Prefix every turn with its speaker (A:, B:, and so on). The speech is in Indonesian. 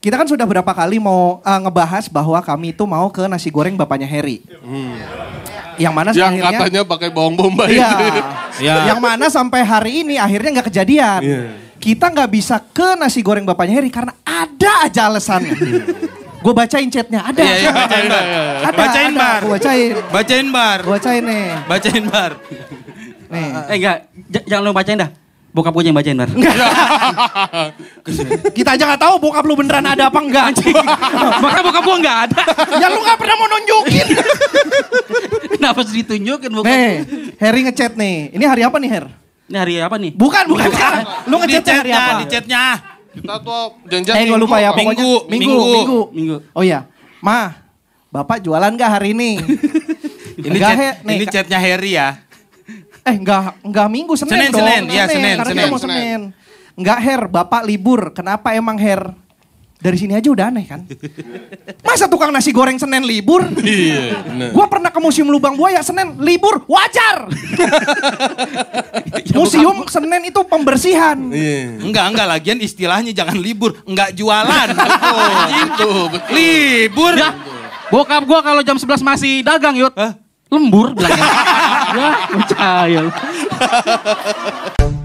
A: Kita kan sudah berapa kali mau eh, ngebahas bahwa kami itu mau ke nasi goreng bapaknya Harry. Hmm. Yang mana
B: Yang
A: akhirnya-
B: katanya pakai bawang bombay.
A: Iya.
C: Iya.
A: Yang mana sampai hari ini akhirnya nggak kejadian.
B: Iya.
A: Kita nggak bisa ke nasi goreng bapaknya Heri karena ada aja alasannya. Gue bacain chatnya, ada.
C: Iya, iya, bacain, Bar.
A: Ada,
C: Bacain,
A: ada.
C: Bar.
A: Gua bacain.
C: Bacain bar.
A: Gue bacain nih.
C: Bacain bar.
A: Nih.
D: Eh enggak, J- jangan lu bacain dah. Bokap gue yang bacain bar.
A: Kita aja nggak tahu bokap lu beneran ada apa enggak.
D: Maka bokap gue enggak ada.
A: ya lu nggak pernah mau nunjukin.
D: Kenapa sih ditunjukin bokap?
A: nih, Heri ngechat nih. Ini hari apa nih Her?
D: Ini hari apa nih?
A: Bukan, bukan sekarang. Lu ngechat hari apa?
C: Di chatnya.
B: Kita tuh janjian
A: Eh gue
B: minggu
A: lupa ya
B: apa?
A: pokoknya.
C: Minggu,
A: minggu,
C: minggu.
A: minggu.
D: Minggu.
A: Oh iya. Ma, Bapak jualan gak hari ini?
C: Ini
A: Enggak,
C: chat,
A: He. Nih,
C: ini
A: Kak.
C: chatnya Harry ya.
A: Eh enggak, enggak minggu, Senin,
C: Senin,
A: dong.
C: Senin. Iya, Senin,
A: Karena
C: Senin,
A: kita mau
B: Senin.
A: Senin. Enggak, Her, Bapak libur. Kenapa emang, Her? Dari sini aja udah aneh kan? Masa tukang nasi goreng Senin libur?
B: Iya, bener.
A: Gua pernah ke Museum Lubang Buaya Senin libur, wajar.
C: Ya,
A: Museum Senin itu pembersihan.
B: Iya.
C: Enggak, enggak lagian istilahnya jangan libur, enggak jualan.
B: Itu gitu, betul.
C: libur.
D: Ya, bokap gue kalau jam 11 masih dagang yut.
C: Hah?
D: Lembur bilangnya. ya, percaya lu.